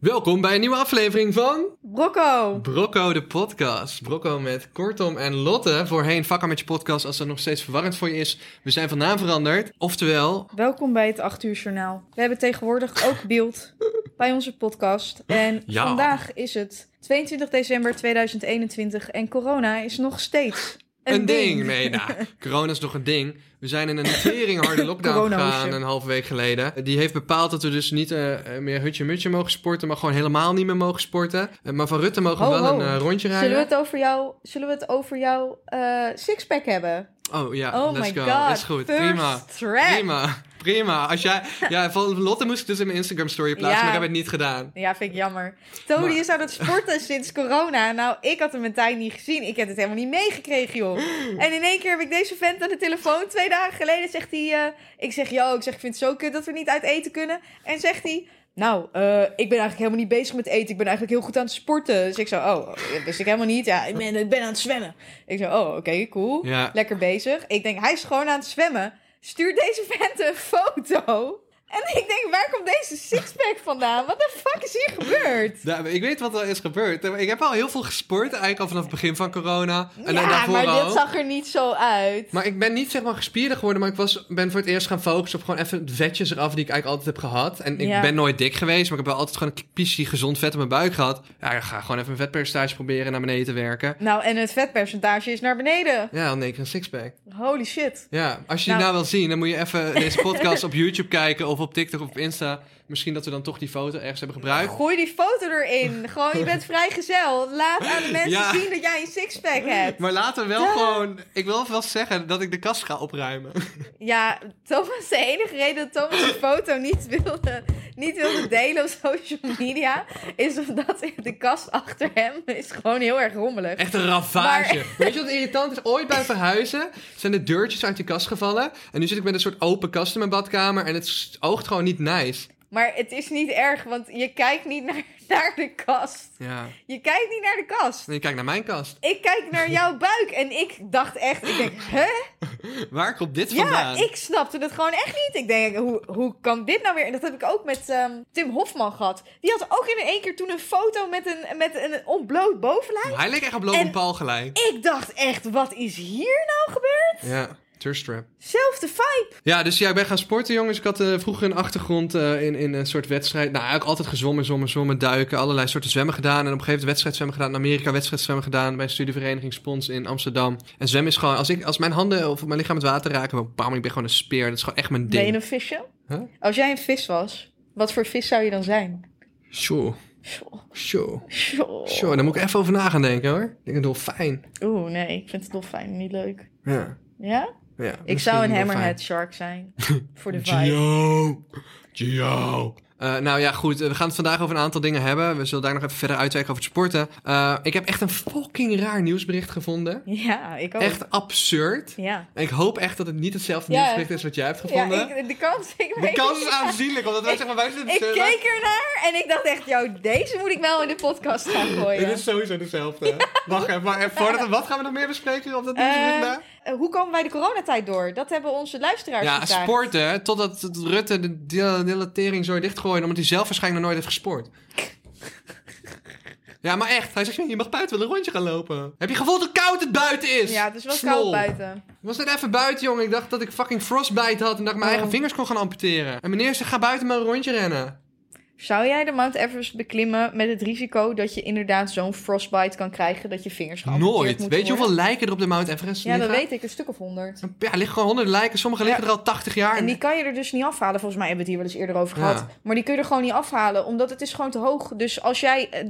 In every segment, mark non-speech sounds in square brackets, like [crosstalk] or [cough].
Welkom bij een nieuwe aflevering van Brocco. Brocco de podcast. Brocco met Kortom en Lotte. Voorheen vakken met je podcast als dat nog steeds verwarrend voor je is. We zijn van naam veranderd. Oftewel, Welkom bij het 8 uur journaal. We hebben tegenwoordig ook [laughs] beeld bij onze podcast. En Ja. vandaag is het 22 december 2021 en corona is nog steeds een, een, ding. Nee, nou, [laughs] corona is nog een ding. We zijn in een tering harde lockdown Coronahoesje. gegaan een halve week geleden. Die heeft bepaald dat we dus niet eh, meer hutje-mutje mogen sporten, maar gewoon helemaal niet meer mogen sporten. Eh, maar van Rutte mogen we Ho, wel ho. een eh, rondje rijden. Zullen we het over jou, zullen we het over jouw eh, sixpack hebben? Oh ja, oh let's my go. god. Is goed, first prima. track. Prima, prima. Als [laughs] jij, ja, van Lotte moest ik dus in mijn Instagram story plaatsen, Ja. maar ik heb het niet gedaan. Ja, vind ik jammer. Tony Maar- is aan het sporten sinds corona. Nou, ik had hem een tijd niet gezien. Ik heb het helemaal niet meegekregen, joh. En in één keer heb ik deze vent aan de telefoon. Twee dagen geleden zegt hij... eh, ik zeg, yo, ik, zeg, ik vind het zo kut dat we niet uit eten kunnen. En zegt hij... Nou, eh, ik ben eigenlijk helemaal niet bezig met eten. Ik ben eigenlijk heel goed aan het sporten. Dus ik zo, oh, dat wist ik helemaal niet. Ja, ik ben, ik ben aan het zwemmen. Ik zo, oh, oké, cool. Ja. Lekker bezig. Ik denk, hij is gewoon aan het zwemmen. Stuur deze vent een foto. En ik denk, waar komt deze sixpack vandaan? Wat de fuck is hier gebeurd? Ja, maar ik weet wat er is gebeurd. Ik heb al heel veel gesport, eigenlijk al vanaf het begin van corona. En dan ja, daarvoor maar al. dit zag er niet zo uit. Maar ik ben niet zeg maar gespierder geworden, maar ik was, ben voor het eerst gaan focussen op gewoon even de vetjes eraf die ik eigenlijk altijd heb gehad. En ik Ja. ben nooit dik geweest, maar ik heb wel altijd gewoon een pissie gezond vet op mijn buik gehad. Ja, ik ga gewoon even een vetpercentage proberen naar beneden te werken. Nou, en het vetpercentage is naar beneden. Ja, dan neem ik een sixpack. Holy shit. Ja, als je die Nou- nou wil zien, dan moet je even deze podcast op YouTube kijken of op TikTok of op Insta. Misschien dat we dan toch die foto ergens hebben gebruikt. Gooi die foto [laughs] erin. Gewoon, je bent vrijgezel. Laat aan de mensen Ja. zien dat jij een sixpack hebt. Maar laten we wel Ja. gewoon... Ik wil wel zeggen dat ik de kast ga opruimen. Ja, Thomas, de enige reden dat Thomas de foto niet wilde, niet wilde delen op social media... is omdat de kast achter hem is gewoon heel erg rommelig. Echt een ravage. Weet je wat irritant is? Ooit bij verhuizen zijn de deurtjes uit de kast gevallen. En nu zit ik met een soort open kast in mijn badkamer. En het s- oogt gewoon niet nice. Maar het is niet erg, want je kijkt niet naar, naar de kast. Ja. Je kijkt niet naar de kast. En je kijkt naar mijn kast. Ik kijk naar jouw buik en ik dacht echt, ik denk, hè? Waar komt dit Ja, vandaan? ik snapte het gewoon echt niet. Ik denk, hoe, hoe kan dit nou weer? En dat heb ik ook met ehm, Tim Hofman gehad. Die had ook in één keer toen een foto met een, met een ontbloot bovenlijn. Hij leek echt op Logan En- Paul gelijk. Ik dacht echt, wat is hier nou gebeurd? Ja, thirst trap. Zelfde vibe. Ja, dus ja, ik ben gaan sporten, jongens. Ik had eh, vroeger een achtergrond eh, in, in een soort wedstrijd. Nou, eigenlijk altijd gezwommen, zwommen, zwommen, duiken. Allerlei soorten zwemmen gedaan. En op een gegeven moment wedstrijdzwemmen gedaan. In Amerika wedstrijdzwemmen gedaan. Bij een studievereniging Spons in Amsterdam. En zwemmen is gewoon... Als, ik, als mijn handen of mijn lichaam het water raken... dan Bam, ik ben gewoon een speer. Dat is gewoon echt mijn Ben je ding. een visje? Huh? Als jij een vis was, wat voor vis zou je dan zijn? Sjoe, Sjoe, sjoe, sjoe. sjoe. Daar moet ik even over na gaan denken, hoor. Ik denk een dolfijn. Oeh, nee, ik vind het dolfijn niet leuk. Ja, Ja? ja. Ik zou een hammerhead shark [laughs] zijn. Voor de vibe. Gio! Gio! Eh, nou ja, goed. eh, We gaan het vandaag over een aantal dingen hebben. We zullen daar nog even verder uitwijken over het sporten. Eh, ik heb echt een fucking raar nieuwsbericht gevonden. Ja, ik ook. Echt absurd. Ja. En ik hoop echt dat het niet hetzelfde Oh. Ja. nieuwsbericht is wat jij hebt gevonden. Ja, ik, de kans, ik De weet kans niet. is aanzienlijk, omdat wij Ik- zeggen, wij zitten Ik keek ernaar en ik dacht echt, joh, deze moet ik wel in de podcast gaan gooien. Het is sowieso dezelfde. Wacht even, maar even voordat we, wat gaan we nog meer bespreken op dat nieuwsbericht? Eh, daar? eh, hoe komen wij de coronatijd door? Dat hebben onze luisteraars ja, gevraagd. sporten, totdat Rutte de dil- dilatering zo dichtgooide, omdat hij zelf waarschijnlijk nog nooit heeft [laughs] gesport. Ja, maar echt. Hij zegt, je mag buiten wel een rondje gaan lopen. Heb je gevoeld hoe koud het buiten is? Ja, het is wel Snol. koud buiten. Ik was net even buiten, jongen. Ik dacht dat ik fucking frostbite had en dat ik mijn Oh. eigen vingers kon gaan amputeren. En meneer zegt, ga buiten maar een rondje rennen. Zou jij de Mount Everest beklimmen met het risico dat je inderdaad zo'n frostbite kan krijgen dat je vingers gaan Nooit. Weet je hoeveel lijken er op de Mount Everest Ja, dat liggen? weet ik. Een stuk of honderd. Ja, er liggen gewoon honderden lijken. Sommige liggen Ja. er al 80 jaar. En die kan je er dus niet afhalen. Volgens mij hebben we het hier wel eens eerder over Ja. gehad. Maar die kun je er gewoon niet afhalen, omdat het is gewoon te hoog. Dus als jij eh,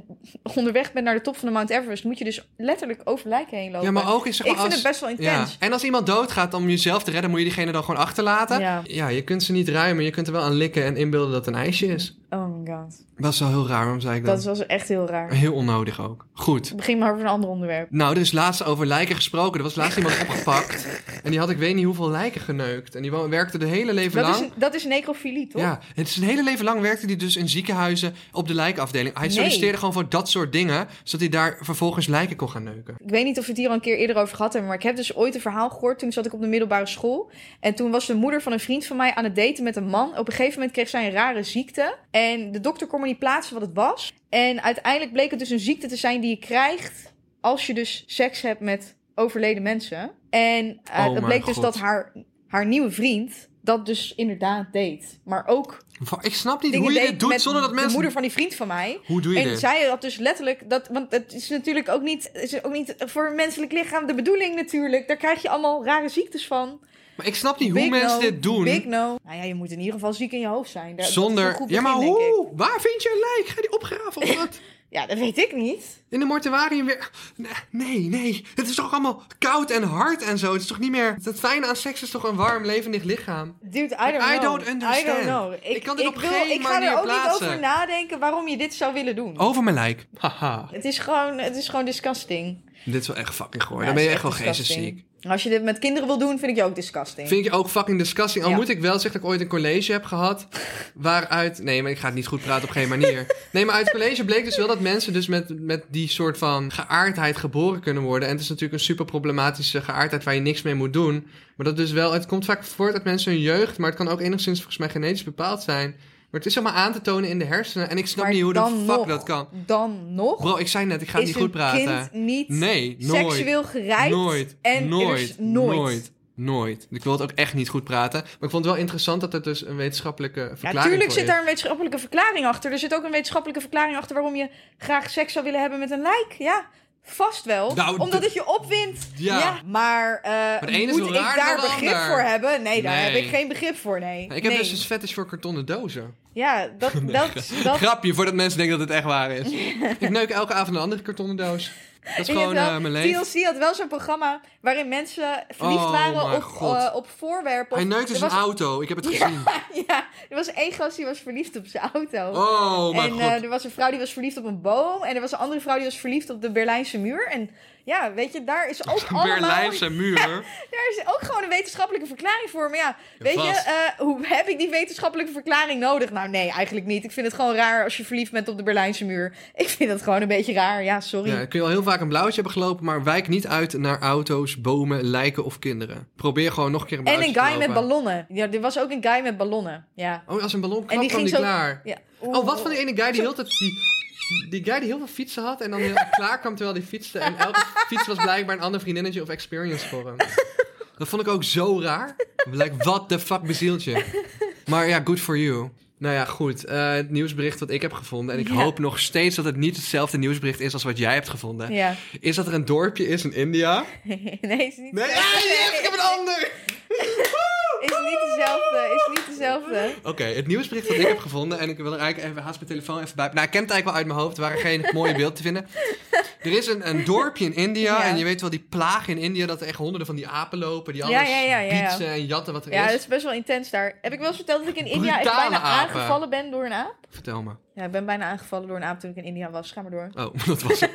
onderweg bent naar de top van de Mount Everest, moet je dus letterlijk over lijken heen lopen. Ja, maar ook is zeg ik maar vind als... het best wel Ja, intens. en als iemand doodgaat om jezelf te redden, moet je diegene dan gewoon achterlaten. Ja. je kunt ze niet ruimen, je kunt er wel aan likken en inbeelden dat het een ijsje is. Oh my god. Dat is wel heel raar, waarom zei ik dat? Dat was echt heel raar. Heel onnodig ook. Goed. Begin maar over een ander onderwerp. Nou, er is laatst over lijken gesproken. Er was laatst iemand opgepakt en die had ik weet niet hoeveel lijken geneukt. En die wo- werkte de hele leven Dat lang... is, een- dat is necrofilie, toch? Ja, het is een hele leven lang werkte hij dus in ziekenhuizen op de lijkafdeling. Hij Nee. solliciteerde gewoon voor dat soort dingen, zodat hij daar vervolgens lijken kon gaan neuken. Ik weet niet of we het hier al een keer eerder over gehad hebben, maar ik heb dus ooit een verhaal gehoord. Toen zat ik op de middelbare school. En toen was de moeder van een vriend van mij aan het daten met een man. Op een gegeven moment kreeg zij een rare ziekte. En En de dokter kon me niet plaatsen wat het was. En uiteindelijk bleek het dus een ziekte te zijn die je krijgt als je dus seks hebt met overleden mensen. En eh, Oh het mijn bleek dus God. dat haar, haar nieuwe vriend dat dus inderdaad deed. Maar ook Va- Ik snap niet dingen hoe je deed dit doet met zonder dat de mensen... moeder van die vriend van mij. Hoe doe je En dit? zij had dus letterlijk dat, want het is natuurlijk ook niet, is ook niet voor een menselijk lichaam de bedoeling natuurlijk. Daar krijg je allemaal rare ziektes van. Maar ik snap niet hoe Big mensen no, dit doen Big no. Nou ja, je moet in ieder geval ziek in je hoofd zijn. Daar- dat is zonder... een goed ja, maar begin, denk ik. hoe? Waar vind je een lijk? Ga die opgraven of wat? Ja, dat weet ik niet. In de mortuarium weer... Nee, Nee, nee. Het is toch allemaal koud en hard en zo. Het is toch niet meer... Het fijne aan seks is toch een warm, levendig lichaam? Dude, I don't I know. don't understand. I don't know. Ik kan dit op wil- geen Ik ga manier er ook niet plaatsen. Oh. over nadenken waarom je dit zou willen doen. Over mijn lijk. Haha. Het, is gewoon, het is gewoon disgusting. Dit is wel echt fucking goor. Ja, Dan ben je het echt is wel disgusting. geestesziek. Als je dit met kinderen wil doen, vind ik je ook disgusting. Vind je ook fucking disgusting. Al Ja. moet ik wel zeggen dat ik ooit een college heb gehad. Waaruit. Nee, maar ik ga het niet goed praten op geen manier. Nee, maar uit het college bleek dus wel dat mensen dus met, met die soort van geaardheid geboren kunnen worden. En het is natuurlijk een super problematische geaardheid waar je niks mee moet doen. Maar dat dus wel. Het komt vaak voort uit mensen hun jeugd. Maar het kan ook enigszins volgens mij genetisch bepaald zijn. Maar het is allemaal aan te tonen in de hersenen. En ik snap Maar niet hoe de dan fuck nog- dat kan. Dan nog Bro, ik zei net, ik ga is niet goed een praten. kind niet Nee, nooit. seksueel gerijpt. Nooit. en er nooit, is nooit. nooit. Nooit. Ik wil het ook echt niet goed praten. Maar ik vond het wel interessant dat er dus een wetenschappelijke verklaring Ja, tuurlijk voor zit is. daar een wetenschappelijke verklaring achter. Er zit ook een wetenschappelijke verklaring achter waarom je graag seks zou willen hebben met een lijk. Ja, vast wel. Nou, Omdat d- het je opwindt. Ja. maar eh, het ene is moet wel ik raarder daar dan het begrip ander. voor hebben? Nee, daar Nee. heb ik geen begrip voor, nee. Ik heb Nee. dus een fetish voor kartonnen dozen. [laughs] Ja, dat... dat, dat Grapje, voordat mensen denken dat het echt waar [laughs] is. ik neuk elke avond een andere kartonnen doos. Dat is En je gewoon hebt eh, mijn wel- leven. TLC had wel zo'n programma waarin mensen verliefd Oh, waren mijn op, God. eh, op voorwerpen. Hij Of- neukt dus er een was- auto. Ik heb het Ja. gezien. Ja, er was één gast die was verliefd op zijn auto. Oh mijn en god. eh, er was een vrouw die was verliefd op een boom. En er was een andere vrouw die was verliefd op de Berlijnse muur. En ja, weet je, daar is ook allemaal... Berlijnse [laughs] muur. Daar is ook gewoon een wetenschappelijke verklaring voor. Maar ja, Ja, weet je, vast. eh, hoe heb ik die wetenschappelijke verklaring nodig? Nou, nee, eigenlijk niet. Ik vind het gewoon raar als je verliefd bent op de Berlijnse muur. Ik vind dat gewoon een beetje raar. Ja, sorry. Ja, kun je al heel vaak een blauwtje hebben gelopen, maar wijk niet uit naar auto's, bomen, lijken of kinderen. Probeer gewoon nog een keer een en blauwtje een te guy met lopen. ballonnen. Ja, er was ook een guy met ballonnen. Ja. Oh, als een ballon En klapt, die kwam ging die zo... klaar. Ja. Oh, wat van die ene guy die heel tijd, die, die guy die heel veel fietsen had en dan heel klaar kwam terwijl hij fietste. En elke fiets was blijkbaar een ander vriendinnetje of experience voor hem. Dat vond ik ook zo raar. Like, what the fuck bezielt je? Maar ja, good for you. Nou ja, goed. eh, het nieuwsbericht wat ik heb gevonden, en ik Ja. hoop nog steeds dat het niet hetzelfde nieuwsbericht is als wat jij hebt gevonden, Ja. is dat er een dorpje is in India. nee, is niet Nee, hetzelfde. ah, yes, ik heb een ander! Is niet dezelfde. Is niet dezelfde. Oké, het nieuwsbericht dat ik heb gevonden. En ik wil er eigenlijk even haast mijn telefoon even bij. Nou, ik ken het eigenlijk wel uit mijn hoofd. Er waren geen mooie beelden te vinden. Er is een, een dorpje in India. Ja. En je weet wel, die plaag in India. Dat er echt honderden van die apen lopen. Die Ja, alles ja, ja, ja, ja. bietsen en jatten wat er Ja, is. dat is best wel intens daar. Heb ik wel eens verteld dat ik in India echt Brutale bijna apen. aangevallen ben door een aap? Vertel me. Ja, ik ben bijna aangevallen door een aap toen ik in India was. Ga maar door. Oh, [laughs] dat was het.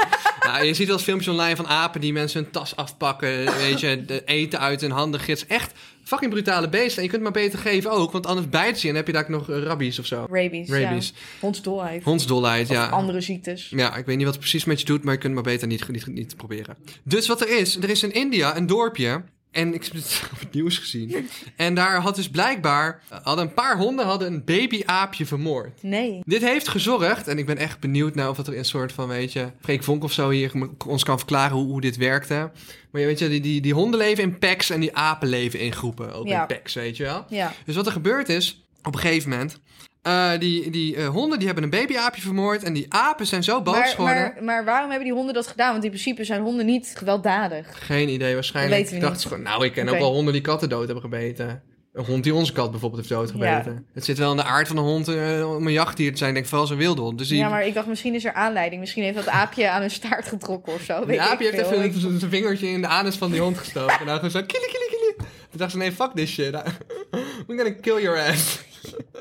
nou, je ziet wel eens filmpjes online van apen die mensen hun tas afpakken. Weet je, de eten uit hun handen gids. Echt fucking brutale beesten. En je kunt het maar beter geven ook. Want anders bijt ze je en heb je daar ook nog eh, rabbies of zo. Rabies. Rabies. Ja. Hondsdolheid. Hondsdolheid, Of ja. andere ziektes. Ja, ik weet niet wat het precies met je doet, maar je kunt het maar beter niet, niet, niet proberen. Dus wat er is, er is in India een dorpje. En ik heb het [laughs] op het nieuws gezien. En daar had dus blijkbaar, hadden een paar honden hadden een babyaapje vermoord. Nee. Dit heeft gezorgd, en ik ben echt benieuwd naar of dat er een soort van, weet je, Freek Vonk of zo hier m- ons kan verklaren hoe, hoe dit werkte. Maar je weet je, die, die, die honden leven in packs en die apen leven in groepen, ook Ja. in packs, weet je wel. Ja. Dus wat er gebeurd is, op een gegeven moment, eh, die, die eh, honden die hebben een babyaapje vermoord en die apen zijn zo boos Maar, geworden. maar, maar waarom hebben die honden dat gedaan? Want in principe zijn honden niet gewelddadig. Geen idee, waarschijnlijk. Dat weten we ik dacht niet. ze gewoon, nou, ik ken Oké. ook wel honden die katten dood hebben gebeten. Een hond die onze kat bijvoorbeeld heeft doodgebeten. Het zit wel in de aard van een hond eh, om een jachtdier te zijn. Ik denk vooral zo'n wildhond. Dus die, Ja, maar ik dacht misschien is er aanleiding. Misschien heeft dat aapje aan hun staart getrokken of zo. Weet die aapje ik heeft veel. even zijn- zijn vingertje in de anus van die hond gestoken. en dan gewoon zo, kili, kili, kili. Toen dacht ze, nee, fuck this shit. [laughs] We're gonna kill your ass. [laughs]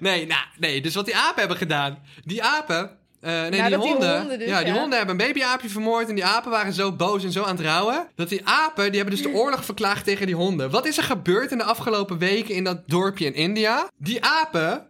nee, nou, nee. Dus wat die apen hebben gedaan. Die apen... eh, nee, Ja, die dat die honden. honden dus, ja, die ja. honden hebben een babyaapje vermoord. En die apen waren zo boos en zo aan het rouwen. Dat die apen, die hebben dus Mm. de oorlog verklaagd tegen die honden. Wat is er gebeurd in de afgelopen weken in dat dorpje in India? Die apen,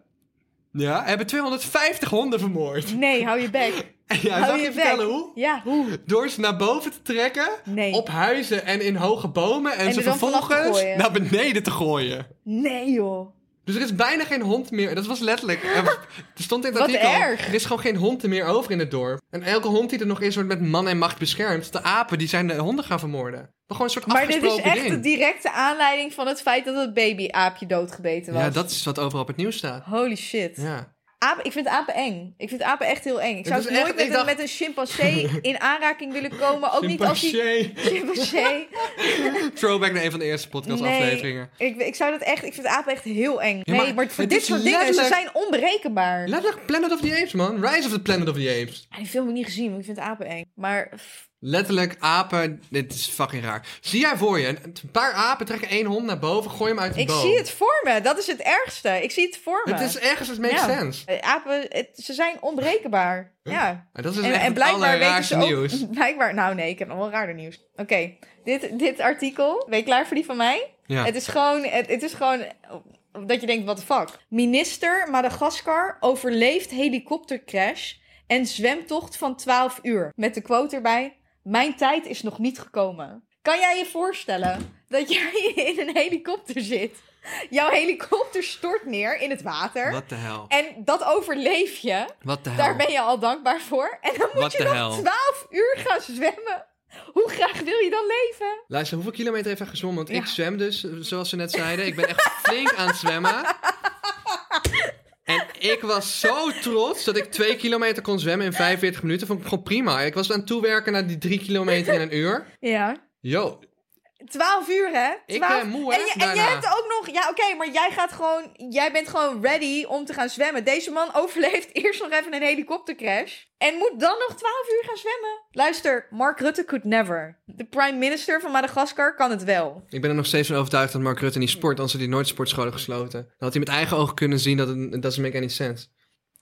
ja, hebben 250 honden vermoord. [laughs] Nee, hou je bek. Ja, hou zal ik je bek. vertellen hoe? Ja, hoe? Door ze naar boven te trekken, Nee. op huizen en in hoge bomen. En, En ze er dan vanaf te vervolgens gooien. naar beneden te gooien. Nee, joh. Dus er is bijna geen hond meer. Dat was letterlijk. eh, Er stond in het Wat artikel. erg. Er is gewoon geen hond meer over in het dorp. En elke hond die er nog is, wordt met man en macht beschermd. Dus De apen die zijn de honden gaan vermoorden. Maar gewoon een soort Maar dit is afgesproken echt de ding. directe aanleiding van het feit dat het babyaapje doodgebeten was. Ja, dat is wat overal op het nieuws staat. Holy shit. Ja. Apen, ik vind apen eng. Ik vind apen echt heel eng. Ik zou is ook echt- nooit met, ik een, dacht- met een [laughs] chimpansee in aanraking willen komen. Ook niet als die... Chimpansee. [laughs] Chimpansee. Throwback naar een van de eerste podcastafleveringen. Ik, ik zou dat echt... Ik vind apen echt heel eng. Ja, nee, maar maar, voor het dit is soort dingen, ze letterlijk- zijn onberekenbaar. Letterlijk Planet of the Apes, man. Rise of the Planet of the Apes. Ah, Die film heb ik niet gezien, want ik vind apen eng. Maar pff, Letterlijk apen. Dit is fucking raar. Zie jij voor je, een een paar apen trekken één hond naar boven, gooi hem uit de ik boom. zie het voor me. Dat is het ergste. Ik zie het voor me. Het is ergens, het makes Ja. sense. Eh, Apen, het- ze zijn onberekenbaar. Ja. En dat is En, echt en blijkbaar het weten ze allerraarste ook... nieuws. [laughs] Blijkbaar, nou nee, ik heb nog wel raarder nieuws. Oké, dit, dit artikel, ben je klaar voor die van mij? Ja. Het, is gewoon, het, het is gewoon eh, dat je denkt, what the fuck. Minister Madagaskar overleeft helikoptercrash en zwemtocht van 12 uur. Met de quote erbij, mijn tijd is nog niet gekomen. Kan jij je voorstellen dat jij [laughs] in een helikopter zit? Jouw helikopter stort neer in het water. Wat Nou. de hel. En dat overleef je. Wat de hel. Daar ben je al dankbaar voor. En dan moet What je the nog hell? 12 uur gaan zwemmen. Hoe graag wil je dan leven? Luister, hoeveel kilometer heeft hij gezwommen? Want Ja. ik zwem dus, eh, zoals ze net zeiden. Ik ben echt flink aan het zwemmen. En ik was zo trots dat ik twee kilometer kon zwemmen in 45 minuten. Vond ik gewoon prima. Ik was aan het toewerken naar die drie kilometer in een uur. Ja. [laughs] Yo, 12 uur, hè? ik 12 ben moe hè, Nou, en je, en je daarna. hebt ook nog... Ja, oké, maar jij gaat gewoon... Jij bent gewoon ready om te gaan zwemmen. Deze man [laughs] overleeft eerst nog even een helikoptercrash. En moet dan nog 12 uur gaan zwemmen. Luister, Mark Rutte could never. De prime minister van Madagaskar kan het wel. Ik ben er nog steeds van overtuigd dat Mark Rutte niet sport. Anders had hij nooit sportscholen gesloten. Dan had hij met eigen ogen kunnen zien dat het doesn't make any sense.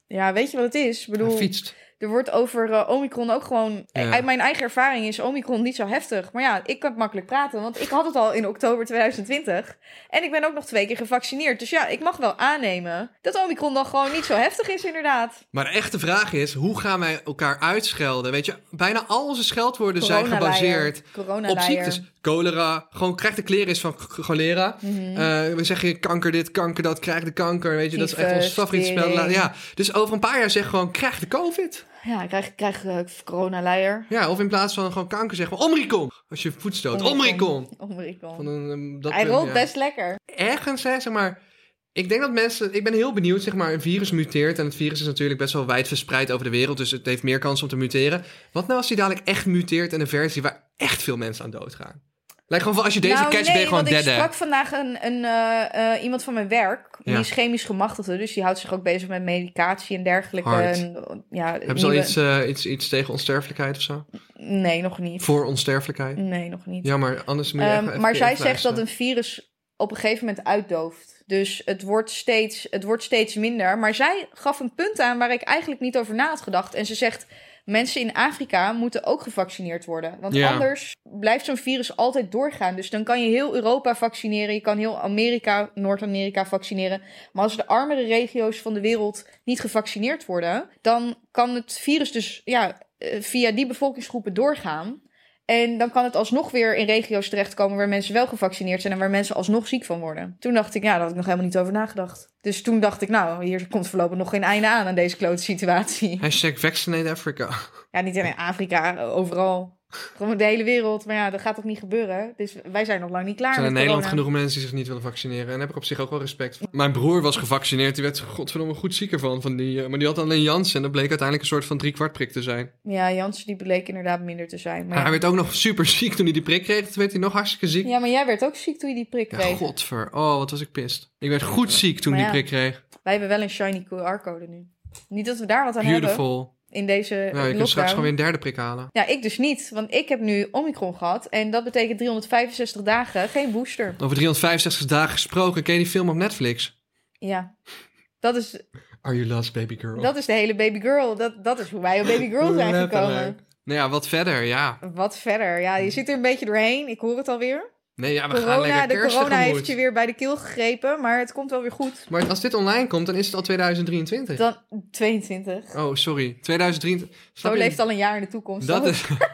Ja, weet je wat het is? Ik Hij bedoel... fietst. Er wordt over eh, Omicron ook gewoon. Ja. Uit mijn eigen ervaring is Omicron niet zo heftig. Maar ja, ik kan het makkelijk praten. Want ik had het al in oktober 2020. En ik ben ook nog twee keer gevaccineerd. Dus ja, ik mag wel aannemen dat Omicron dan gewoon niet zo heftig is, inderdaad. Maar de echte vraag is, hoe gaan wij elkaar uitschelden? Weet je, bijna al onze scheldwoorden zijn gebaseerd op ziektes. Cholera, gewoon krijg de kleren is van ch- ch- cholera. Mhm. Eh, we zeggen je kanker dit, kanker dat, krijg de kanker. Weet je, dat is echt ons Tyfus, favoriete spel. tering. Ja, dus over een paar jaar zeggen we gewoon, krijg de covid. Ja, ik krijg, krijg eh, coronaleier. Ja, of in plaats van gewoon kanker zeggen we omricon. Als je voet stoot, omricon. Van Omicron. een, ehm, dat Hij wil- rolt ja. best lekker. ergens, hè, zeg maar. Ik denk dat mensen. Ik ben heel benieuwd, zeg maar. Een virus muteert. En het virus is natuurlijk best wel wijd verspreid over de wereld. Dus het heeft meer kans om te muteren. Wat nou als die dadelijk echt muteert in een versie waar echt veel mensen aan doodgaan? Lijkt gewoon van als je deze nou, catch nee, ben je gewoon want dead. ik hè? sprak vandaag een, een, eh, eh, iemand van mijn werk. Ja. Die is chemisch gemachtigde, dus die houdt zich ook bezig met medicatie en dergelijke. Hard. En, eh, ja, Hebben ze al nieuwe- iets, eh, iets, iets tegen onsterfelijkheid of zo? Nee, nog niet. Voor onsterfelijkheid? Nee, nog niet. Ja, maar anders moet je Ehm, echt even maar keer zij zegt influisteren. dat een virus op een gegeven moment uitdooft. Dus het wordt, steeds, het wordt steeds minder. Maar zij gaf een punt aan waar ik eigenlijk niet over na had gedacht. En ze zegt, mensen in Afrika moeten ook gevaccineerd worden. Want Ja. anders blijft zo'n virus altijd doorgaan. Dus dan kan je heel Europa vaccineren. Je kan heel Amerika, Noord-Amerika vaccineren. Maar als de armere regio's van de wereld niet gevaccineerd worden... dan kan het virus dus ja, eh, via die bevolkingsgroepen doorgaan. En dan kan het alsnog weer in regio's terechtkomen waar mensen wel gevaccineerd zijn en waar mensen alsnog ziek van worden. Toen dacht ik, ja, daar had ik nog helemaal niet over nagedacht. Dus toen dacht ik, nou, hier komt voorlopig nog geen einde aan aan deze klote situatie. [laughs] Hashtag vaccinate Africa. Ja, niet alleen in Afrika, overal. Gewoon de hele wereld. Maar ja, dat gaat toch niet gebeuren. Dus wij zijn nog lang niet klaar. Er zijn in met Nederland corona. genoeg mensen die zich niet willen vaccineren. En daar heb ik op zich ook wel respect voor. Mijn broer was gevaccineerd. Die werd er godverdomme goed zieker van. van die, eh, maar die had alleen Janssen. En dat bleek uiteindelijk een soort van driekwart prik te zijn. Ja, Jansen die bleek inderdaad minder te zijn. Maar hij Maar ja. werd ook nog super ziek toen hij die prik kreeg. Toen werd hij nog hartstikke ziek. Ja, maar jij werd ook ziek toen je die prik Ja, kreeg. godver. Oh, wat was ik pist. Ik werd goed ziek toen ik Maar die ja. prik kreeg. Wij hebben wel een shiny QR-code nu. Niet dat we daar wat aan hebben Beautiful. in deze Nou, je kunt lockdown. straks gewoon weer een derde prik halen. Ja, ik dus niet, want ik heb nu Omicron gehad en dat betekent 365 dagen geen booster. Over 365 dagen gesproken. Ken je die film op Netflix? Ja. Dat is, Are you lost, baby girl? dat is de hele baby girl. Dat, dat is hoe wij op baby girl zijn gekomen. Letterlijk. Nou ja, wat verder, ja. Wat verder? Ja, je zit er een beetje doorheen. Ik hoor het alweer. Nee, ja, we gaan Corona, lekker de kerst corona tegemoet. heeft je weer bij de keel gegrepen, maar het komt wel weer goed. Maar als dit online komt, dan is het al 2023. Dan 22. Oh, sorry. 2023. Snap Zo je? leeft Oh, al een jaar in de toekomst. Dat toch? is... [laughs]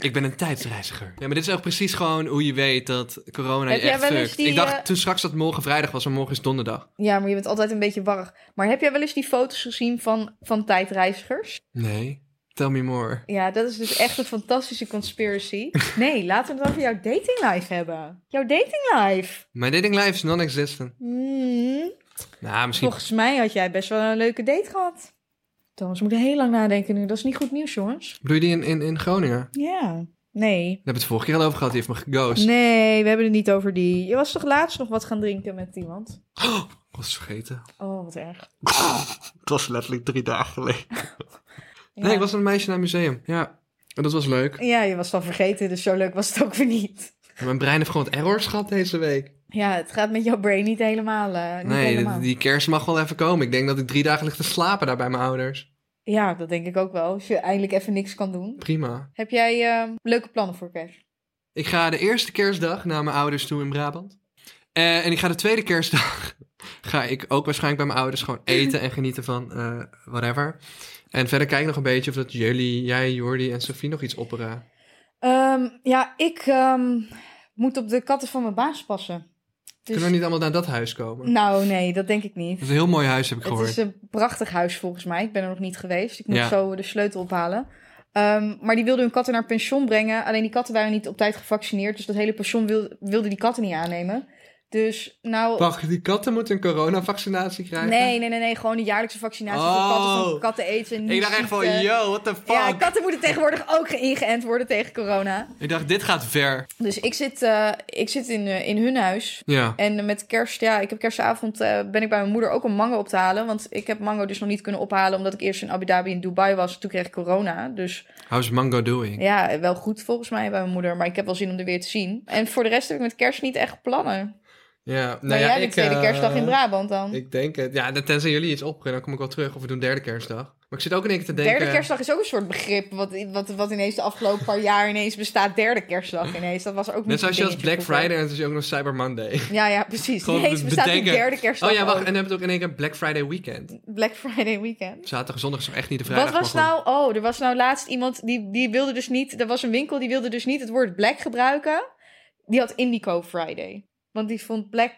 Ik ben een tijdsreiziger. Ja, maar dit is ook precies gewoon hoe je weet dat corona Heb je jij echt wel eens fuckt. die, Ik dacht eh, toen straks dat morgen vrijdag was, maar morgen is donderdag. Ja, maar je bent altijd een beetje warrig. Maar heb jij wel eens die foto's gezien van, van tijdreizigers? Nee, tell me more. Ja, dat is dus echt een fantastische [laughs] conspiracy. Nee, laten we het over jouw dating life hebben. Jouw dating life. My dating life is non-existent. Hmm, Nou, misschien... volgens mij had jij best wel een leuke date gehad. Thomas, we moeten heel lang nadenken nu. Dat is niet goed nieuws, jongens. Bedoel je die in, in, in Groningen? Ja. Nee. Daar hebben we het vorige keer al over gehad, die heeft me geghost. Nee, we hebben het niet over die. Je was toch laatst nog wat gaan drinken met iemand? Ik was het vergeten. Oh, wat erg. Het was letterlijk drie dagen geleden. Ja. Nee, ik was met een meisje naar een museum. Ja, en dat was leuk. Ja, je was dan vergeten, dus zo leuk was het ook weer niet. Mijn brein heeft gewoon wat errors gehad deze week. Ja, het gaat met jouw brain niet helemaal. eh, niet Nee, helemaal. die, die kerst mag wel even komen. Ik denk dat ik drie dagen lig te slapen daar bij mijn ouders. Ja, dat denk ik ook wel. Als je eindelijk even niks kan doen. Prima. Heb jij eh, leuke plannen voor kerst? Ik ga de eerste kerstdag naar mijn ouders toe in Brabant. Eh, en ik ga de tweede kerstdag... [laughs] ga ik ook waarschijnlijk bij mijn ouders gewoon eten en genieten van eh, whatever. En verder kijk ik nog een beetje of dat jullie, jij, Jordi en Sophie nog iets opperen. Ehm, ja, ik ehm, moet op de katten van mijn baas passen. Dus- Kunnen we niet allemaal naar dat huis komen? Nou, nee, dat denk ik niet. Het is een heel mooi huis, heb ik Het gehoord. is een prachtig huis volgens mij. Ik ben er nog niet geweest. Ik moet Ja. zo de sleutel ophalen. Ehm, maar die wilden hun katten naar pension brengen. Alleen die katten waren niet op tijd gevaccineerd. Dus dat hele pension wil, wilde die katten niet aannemen. Dus nou... Wacht, die katten moeten een coronavaccinatie krijgen? Nee, nee, nee, nee. Gewoon de jaarlijkse vaccinatie Oh. voor katten van katten eten. Ik dacht echt van, yo, what the fuck? Ja, katten moeten tegenwoordig ook ingeënt worden tegen corona. Ik dacht, dit gaat ver. Dus ik zit, eh, ik zit in, eh, in hun huis. Ja. En met kerst, ja, ik heb kerstavond eh, ben ik bij mijn moeder ook een mango op te halen. Want ik heb mango dus nog niet kunnen ophalen. Omdat ik eerst in Abu Dhabi in Dubai was. Toen kreeg ik corona. Dus How's Mango doing? ja, wel goed volgens mij bij mijn moeder. Maar ik heb wel zin om er weer te zien. En voor de rest heb ik met kerst niet echt plannen. Ja, nou maar ja, jij ik, bent tweede eh, kerstdag in Brabant dan. Ik denk het. Ja, tenzij jullie iets opperen, dan kom ik wel terug. Of we doen derde kerstdag. Maar ik zit ook in één keer te denken... Derde kerstdag is ook een soort begrip. Wat, wat, wat ineens de afgelopen paar jaar ineens bestaat. Derde kerstdag ineens. Dat was er ook niet Net zoals een je als dingetje Black vroeger. Friday en het is ook nog Cyber Monday. Ja, ja, precies. Gewoon Niet eens bestaat die bedenken. derde [laughs] kerstdag Oh ja, wacht. ook. En dan heb je het ook in één keer Black Friday weekend. Black Friday weekend. Zaterdag en zondag is nog echt niet de vrijdag. Wat was maar goed. nou... Oh, er was nou laatst iemand die, die wilde dus niet... Er was een winkel die wilde dus niet het woord black gebruiken. Die had Indigo Friday. Want die vond black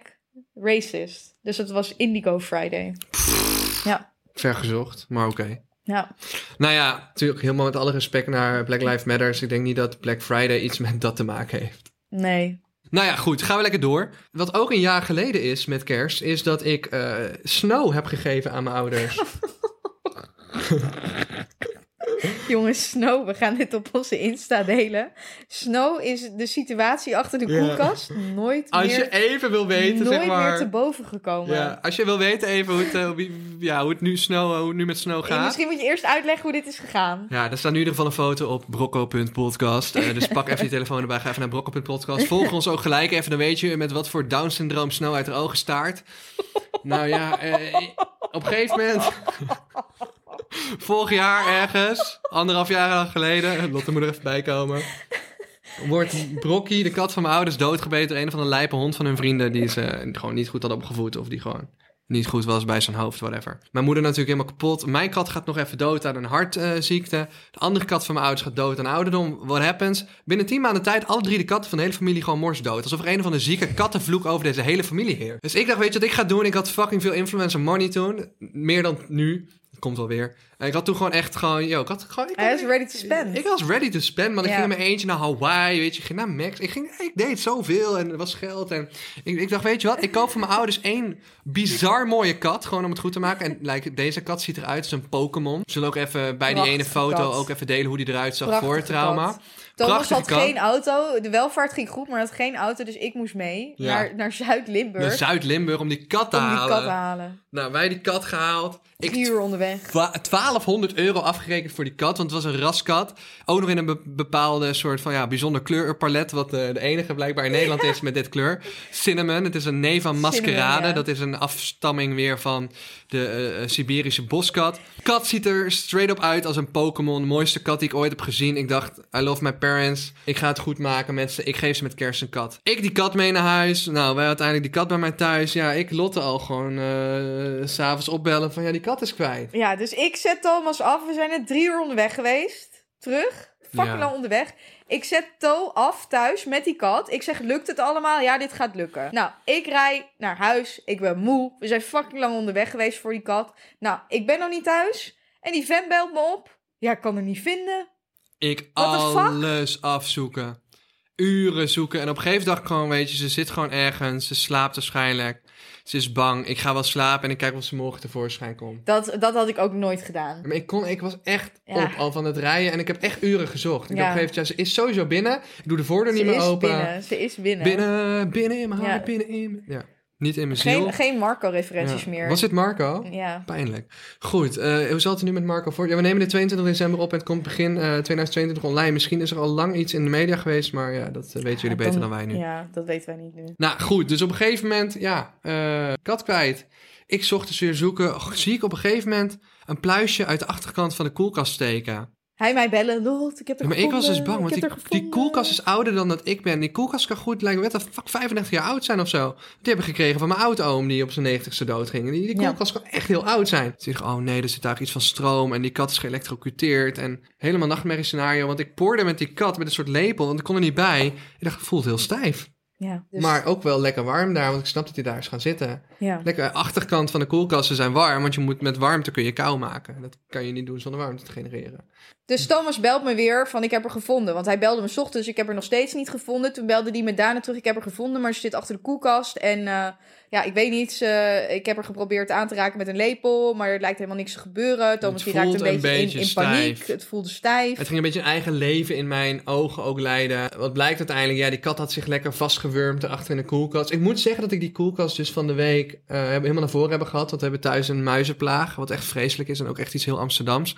racist. Dus dat was Indigo Friday. Ja, Vergezocht, maar oké. ja. Nou ja, natuurlijk helemaal met alle respect naar Black Lives Matters. Ik denk niet dat Black Friday iets met dat te maken heeft. Nee. Nou ja, goed, gaan we lekker door. Wat ook een jaar geleden is met kerst, is dat ik eh, snow heb gegeven aan mijn [laughs] ouders. Jongens, Snow, we gaan dit op onze Insta delen. Snow is de situatie achter de Ja. koelkast nooit Als meer... je even wil weten, nooit zeg maar. meer te boven gekomen. ja, als je wil weten even hoe het, eh, wie- ja, hoe het nu snow, hoe het nu met snow En gaat. Misschien moet je eerst uitleggen hoe dit is gegaan. Ja, er staat nu in ieder geval een foto op brocco.podcast. Eh, dus pak even je telefoon erbij, ga even naar brocco.podcast. Volg ons ook gelijk even, dan weet je met wat voor Down-syndroom snow uit haar ogen staart. Nou ja, eh, op een gegeven moment... [laughs] Vorig jaar ergens, anderhalf jaar geleden, Lotte moet er even bij komen... Wordt Brokkie, de kat van mijn ouders, doodgebeten door een van de lijpe hond van hun vrienden... die ze gewoon niet goed hadden opgevoed of die gewoon niet goed was bij zijn hoofd, whatever. Mijn moeder natuurlijk helemaal kapot. Mijn kat gaat nog even dood aan een hartziekte. de andere kat van mijn ouders gaat dood aan ouderdom. What happens? Binnen tien maanden tijd alle drie de katten van de hele familie gewoon morsdood. Alsof er een van de zieke kattenvloek over deze hele familie heerst. Dus ik dacht, weet je wat ik ga doen? Ik had fucking veel influencer money toen. Meer dan nu. Dat komt wel weer. En ik had toen gewoon echt gewoon... Yo, ik had gewoon... Ik Hij is ready to spend. ik was ready to spend, man. Ik Ja. ging in mijn eentje naar Hawaii, weet je. Ik ging naar Max. Ik, ging, ik deed zoveel en er was geld. En ik, ik dacht, weet je wat? Ik koop voor mijn ouders één bizar mooie kat. Gewoon om het goed te maken. En like, deze kat ziet eruit als een Pokémon. We Zullen ook even bij die ene Prachtige foto kat. ook even delen hoe die eruit zag Prachtige voor het trauma. kat. Thomas Prachtige had kat. geen auto. De welvaart ging goed, maar had geen auto. Dus ik moest mee Ja. naar, naar Zuid-Limburg. Naar Zuid-Limburg om die kat te om die halen. kat te halen. Nou, wij die kat gehaald. Ik Drie uur onderweg. Twa- 1200 euro afgerekend voor die kat, want het was een raskat. Ook nog in een be- bepaalde soort van ja, bijzonder kleurpalet, wat eh, de enige blijkbaar in Nederland is met dit kleur. Cinnamon, het is een Neva maskerade. ja. Dat is een afstamming weer van de eh, eh, Siberische boskat. Kat ziet er straight op uit als een Pokémon. Mooiste kat die ik ooit heb gezien. Ik dacht, I love my parents. Ik ga het goed maken met ze. Ik geef ze met kerst een kat. Ik die kat mee naar huis. Nou, wij uiteindelijk die kat bij mij thuis. Ja, ik Lotte al gewoon eh, s s'avonds opbellen van ja, die kat is kwijt. Ja, dus ik zet Thomas af. We zijn net drie uur onderweg geweest. Terug. fucking Ja. lang onderweg. Ik zet toe af thuis met die kat. Ik zeg, lukt het allemaal? Ja, dit gaat lukken. Nou, ik rij naar huis. Ik ben moe. We zijn fucking lang onderweg geweest voor die kat. Nou, ik ben nog niet thuis. En die vent belt me op. Ja, ik kan hem niet vinden. Ik What the fuck? alles afzoeken. Uren zoeken. En op een gegeven dag gewoon, weet je, ze zit gewoon ergens. Ze slaapt waarschijnlijk. Ze is bang. Ik ga wel slapen en ik kijk of ze morgen tevoorschijn komt. Dat, dat had ik ook nooit gedaan. Maar ik, kon, ik was echt Ja. op al van het rijden en ik heb echt uren gezocht. Ik Ja. dacht op een gegeven moment, ja, ze is sowieso binnen. Ik doe de voordeur Ze niet meer is open. binnen. Ze is binnen. Binnen, binnen in mijn hart, Ja. binnen in mijn- Ja, niet in mijn ziel. Geen, geen Marco-referenties Ja. meer. Was dit Marco? Ja. Pijnlijk. Goed, eh, hoe zal het er nu met Marco voor? Ja, we nemen de 22 december op en het komt begin eh, 2022 online. Misschien is er al lang iets in de media geweest, maar ja, dat eh, weten jullie beter dan, wij nu. Ja, dat weten wij niet nu. Nou goed, dus op een gegeven moment, ja, eh, kat kwijt. Ik zocht dus weer zoeken. Och, zie ik op een gegeven moment een pluisje uit de achterkant van de koelkast steken. Hij mij bellen, Lot, ik heb er Ja, maar ik was dus bang, gevonden, want ik die, heb er die gevonden." koelkast is ouder dan dat ik ben. Die koelkast kan goed, lijkt me wat de fuck, 35 jaar oud zijn of zo. Die heb ik gekregen van mijn oud-oom die op zijn 90ste dood ging. Die, die Ja. koelkast kan echt heel oud zijn. Ze zeggen, oh nee, er zit daar iets van stroom en die kat is geëlectrocuteerd. En helemaal nachtmerrie scenario, want ik poorde met die kat met een soort lepel, want ik kon er niet bij. Ik dacht, het voelt heel stijf. Ja, dus- Maar ook wel lekker warm daar, want ik snap dat hij daar is gaan zitten. ja. Lekker, achterkant van de koelkasten zijn warm, want je moet met warmte kun je kou maken. Dat kan je niet doen zonder warmte te genereren. Dus Thomas belt me weer van ik heb er gevonden. Want hij belde me 's ochtends, ik heb er nog steeds niet gevonden. Toen belde hij me daarna terug, ik heb er gevonden, maar ze zit achter de koelkast. En eh, ja, ik weet niet, ze- ik heb er geprobeerd aan te raken met een lepel, maar er lijkt helemaal niks te gebeuren. Thomas die raakt voelt een beetje, een in, beetje in stijf. paniek, het voelde stijf. Het ging een beetje een eigen leven in mijn ogen ook leiden. Wat blijkt uiteindelijk, ja, die kat had zich lekker vastgewurmd erachter in de koelkast. Ik moet zeggen dat ik die koelkast dus van de week eh, hebben- helemaal naar voren hebben gehad. Want we hebben thuis een muizenplaag, wat echt vreselijk is en ook echt iets heel Amsterdams.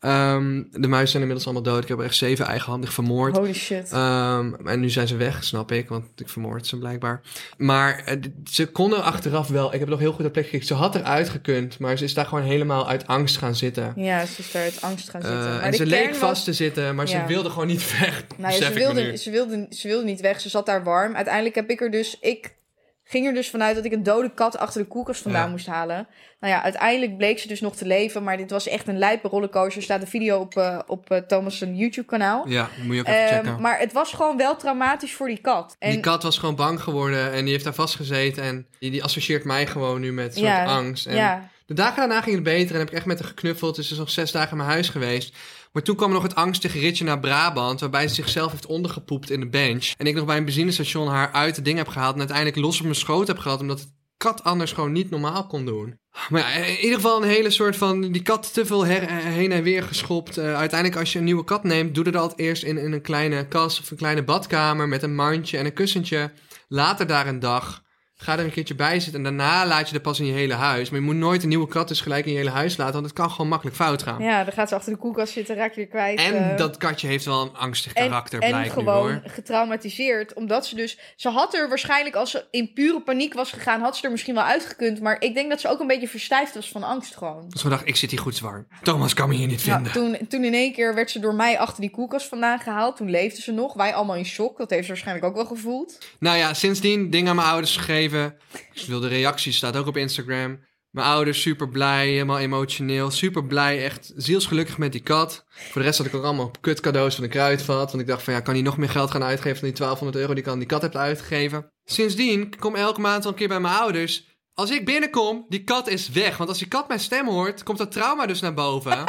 Ehm, de muizen zijn inmiddels allemaal dood. Ik heb er echt zeven eigenhandig vermoord. Holy shit. Ehm, en nu zijn ze weg, snap ik, want ik vermoord ze blijkbaar. Maar eh, d- ze kon er achteraf wel, ik heb nog heel goed op plek gekeken, ze had eruit gekund, maar ze is daar gewoon helemaal uit angst gaan zitten. ja, ze is daar uit angst gaan zitten. Eh, maar en de ze kern leek was- vast te zitten, maar Ja. ze wilde gewoon niet weg. Nou besef ja, ze ik me nu. wilde, ze, wilde, ze wilde niet weg. Ze zat daar warm. Uiteindelijk heb ik er dus... Ik ging er dus vanuit dat ik een dode kat achter de koelkast vandaan Ja. moest halen. Nou ja, uiteindelijk bleek ze dus nog te leven. Maar dit was echt een lijpe rollercoaster. Er staat een video op, eh, op eh, Thomas' YouTube-kanaal. Ja, moet je ook even Ehm, checken. maar het was gewoon wel traumatisch voor die kat. En Die kat was gewoon bang geworden en die heeft daar vastgezeten. En die, die associeert mij gewoon nu met een soort Ja, angst. En ja, De dagen daarna ging het beter en heb ik echt met haar geknuffeld. Dus ze is nog zes dagen in mijn huis geweest. Maar toen kwam er nog het angstige ritje naar Brabant... waarbij ze zichzelf heeft ondergepoept in de bench. En ik nog bij een benzinestation haar uit het ding heb gehaald... en uiteindelijk los op mijn schoot heb gehad... omdat het kat anders gewoon niet normaal kon doen. Maar ja, in ieder geval een hele soort van... die kat te veel her- eh, heen en weer geschopt. Eh, uiteindelijk als je een nieuwe kat neemt... doe er dat eerst in, in een kleine kast of een kleine badkamer... met een mandje en een kussentje. Later daar een dag... Ga er een keertje bij zitten en daarna laat je er pas in je hele huis. Maar je moet nooit een nieuwe kat dus gelijk in je hele huis laten, want het kan gewoon makkelijk fout gaan. ja, dan gaat ze achter de koelkast zitten, raak je weer kwijt. En eh. dat katje heeft wel een angstig En- karakter, en, blijkt gewoon nu hoor. getraumatiseerd. Omdat ze dus. Ze had er waarschijnlijk, als ze in pure paniek was gegaan, had ze er misschien wel uitgekund. Maar ik denk dat ze ook een beetje verstijfd was van angst gewoon. Dus ik dacht, ik zit hier goed warm. Thomas kan me hier niet Nou, vinden. toen, toen in één keer werd ze door mij achter die koelkast vandaan gehaald. Toen leefde ze nog. Wij allemaal in shock. Dat heeft ze waarschijnlijk ook wel gevoeld. Nou ja, sindsdien ding aan mijn ouders gegeven. Ik wil de reactie, staat ook op Instagram. Mijn ouders super blij, helemaal emotioneel. Super blij, echt zielsgelukkig met die kat. Voor de rest had ik ook allemaal kut cadeaus van de kruidvat. Want ik dacht van ja, kan hij nog meer geld gaan uitgeven dan die 1200 euro die ik aan die kat heb uitgegeven. Sindsdien ik kom elke maand wel een keer bij mijn ouders. Als ik binnenkom, die kat is weg. Want als die kat mijn stem hoort, komt dat trauma dus naar boven.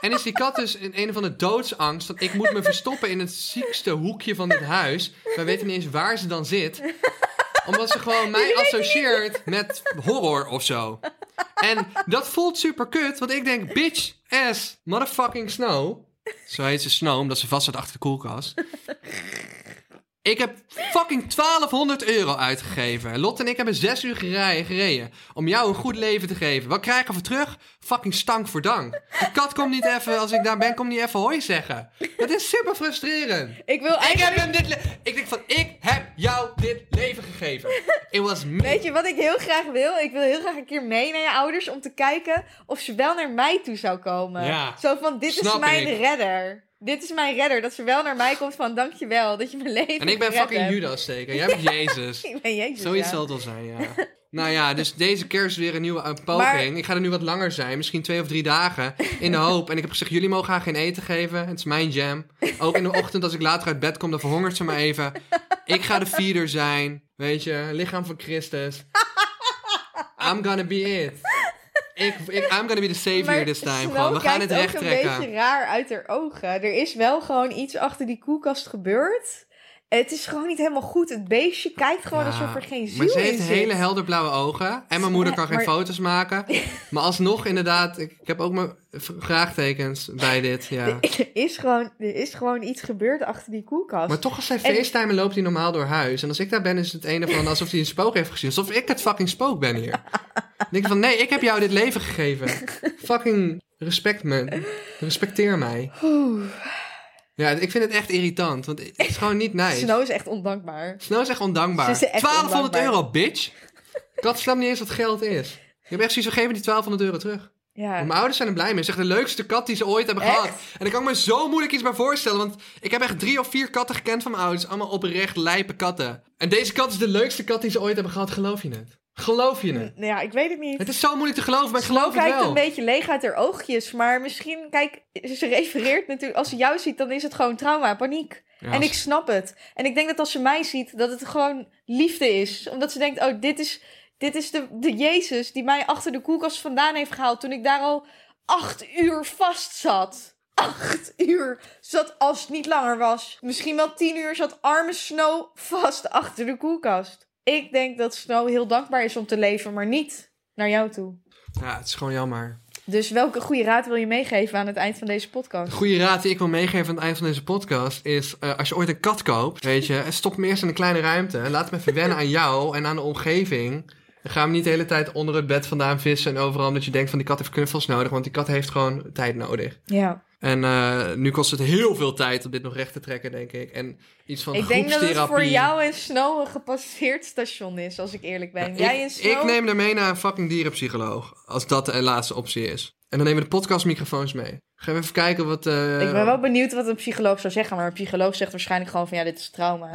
En is die kat dus in een of andere doodsangst. Want ik moet me verstoppen in het ziekste hoekje van dit huis. Wij weten niet eens waar ze dan zit. Omdat ze gewoon mij associeert met horror of zo. En dat voelt super kut. Want ik denk, bitch ass motherfucking snow. Zo heet ze snow, omdat ze vast zat achter de koelkast. Ik heb fucking 1200 euro uitgegeven. Lot en ik hebben 6 uur gereden, gereden om jou een goed leven te geven. Wat krijgen we terug? Fucking stank voor dank. De kat komt niet even, als ik daar ben, komt niet even hoi zeggen. Dat is super frustrerend. Ik wil Ik heb eigenlijk. hem dit le- Ik denk van, ik heb jou dit leven gegeven. It was me. Weet je wat ik heel graag wil? Ik wil heel graag een keer mee naar je ouders om te kijken of ze wel naar mij toe zou komen. Ja, Zo van: dit is snap mijn ik. redder. Dit is mijn redder. Dat ze wel naar mij komt van dankjewel dat je mijn leven En ik ben gered fucking hebt. Judas zeker. Jij bent Jezus. [laughs] Ik ben Jezus, Zoiets ja. zal het wel zijn, ja. [laughs] nou ja, dus deze kerst weer een nieuwe eh, poging. Maar- Ik ga er nu wat langer zijn, misschien twee of drie dagen. In de hoop. En ik heb gezegd, jullie mogen haar geen eten geven. Het is mijn jam. Ook in de ochtend als ik later uit bed kom, dan verhongert ze maar even. Ik ga de feeder zijn. Weet je, lichaam van Christus. I'm gonna be it. Ik, ik, I'm gonna be the savior Maar this time. Snow dus Gewoon. We gaan kijkt het recht ook een trekken. beetje raar uit haar ogen. Er is wel gewoon iets achter die koelkast gebeurd. Het is gewoon niet helemaal goed. Het beestje kijkt gewoon Ja, alsof er geen ziel Maar ze in heeft zit. hele helderblauwe ogen. En mijn moeder kan geen maar- foto's maken. Maar alsnog, inderdaad, ik, ik heb ook mijn v- vraagtekens bij dit. [laughs] Ja. [laughs] er, is gewoon, er is gewoon iets gebeurd achter die koelkast. Maar toch, als hij En- facetime loopt hij normaal door huis. En als ik daar ben, is het ene van alsof hij een spook heeft gezien. Alsof ik het fucking spook ben hier. Dan denk ik van, nee, ik heb jou dit leven gegeven. Fucking respect me. Respecteer mij. Oeh, Ja, ik vind het echt irritant. Want het is gewoon niet nice. Snow is echt ondankbaar. Snow is echt ondankbaar. Ze is echt 1200 ondankbaar. euro, bitch. Kat snapt niet eens wat geld is. Je hebt echt zoiets gegeven die 1200 euro terug. Ja. Maar Mijn ouders zijn er blij mee. Het is echt de leukste kat die ze ooit hebben Echt? gehad. En ik kan me zo moeilijk iets bij voorstellen. Want ik heb echt drie of vier katten gekend van mijn ouders. Allemaal oprecht lijpe katten. En deze kat is de leukste kat die ze ooit hebben gehad. Geloof je het? Geloof je het? Nou ja, ik weet het niet. Het is zo moeilijk te geloven, maar ik geloof Ze kijkt het wel. een beetje leeg uit haar oogjes. Maar misschien, kijk, ze refereert natuurlijk... Als ze jou ziet, dan is het gewoon trauma, paniek. Ja, En ik snap het. En ik denk dat als ze mij ziet, dat het gewoon liefde is. Omdat ze denkt, oh, dit is, dit is de, de Jezus die mij achter de koelkast vandaan heeft gehaald... toen ik daar al acht uur vast zat. Acht uur zat als het niet langer was. Misschien wel tien uur zat arme Snow vast achter de koelkast. Ik denk dat Snow heel dankbaar is om te leven, maar niet naar jou toe. ja, het is gewoon jammer. Dus welke goede raad wil je meegeven aan het eind van deze Een podcast? goede raad die ik wil meegeven aan het eind van deze podcast is... eh, als je ooit een kat koopt, weet je... [laughs] stop hem eerst in een kleine ruimte. Laat hem even wennen aan jou en aan de omgeving. En ga hem niet de hele tijd onder het bed vandaan vissen en overal... omdat je denkt van die kat heeft knuffels nodig. Want die kat heeft gewoon tijd nodig. Ja. En eh, nu kost het heel veel tijd om dit nog recht te trekken, denk ik. En iets van Ik denk dat groepstherapie. het voor jou en Snow een gepasseerd station is, als ik eerlijk ben. Ja, Jij ik, en Snow... ik neem er mee naar een fucking dierenpsycholoog. Als dat de laatste optie is. En dan nemen we de podcastmicrofoons mee. Gaan we even kijken wat... eh, Ik ben wel benieuwd wat een psycholoog zou zeggen, maar een psycholoog zegt waarschijnlijk gewoon van ja, dit is trauma. [laughs]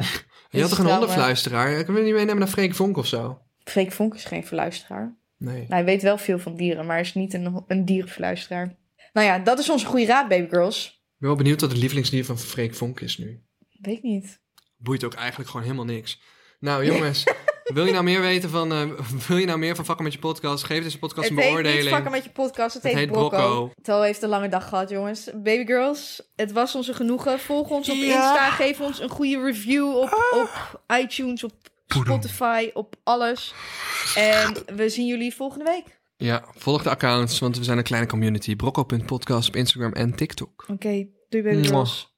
Je had toch een trauma. hondenfluisteraar? Kunnen we niet meenemen naar Freek Vonk of zo? Freek Vonk is geen verluisteraar. Nee. Nou, hij weet wel veel van dieren, maar is niet een, een dierenverluisteraar. Nou ja, dat is onze goede raad, babygirls. Ik ben wel benieuwd wat het lievelingsdier van Freek Vonk is nu. Weet ik niet. Boeit ook eigenlijk gewoon helemaal niks. Nou [laughs] jongens, wil je nou meer weten van... eh, wil je nou meer van Vakken met je podcast? Geef deze podcast het een heet niet beoordeling. vakken met je podcast, het, Het heet heet Brocco. Brocco. Toe heeft een lange dag gehad, jongens. Babygirls, het was onze genoegen. Volg ons op Ja. Insta, geef ons een goede review op, op iTunes, op Spotify, op alles. En we zien jullie volgende week. Ja, volg de accounts, want we zijn een kleine community. Brocco.podcast op Instagram en TikTok. Oké, doei babygirls. Mwah.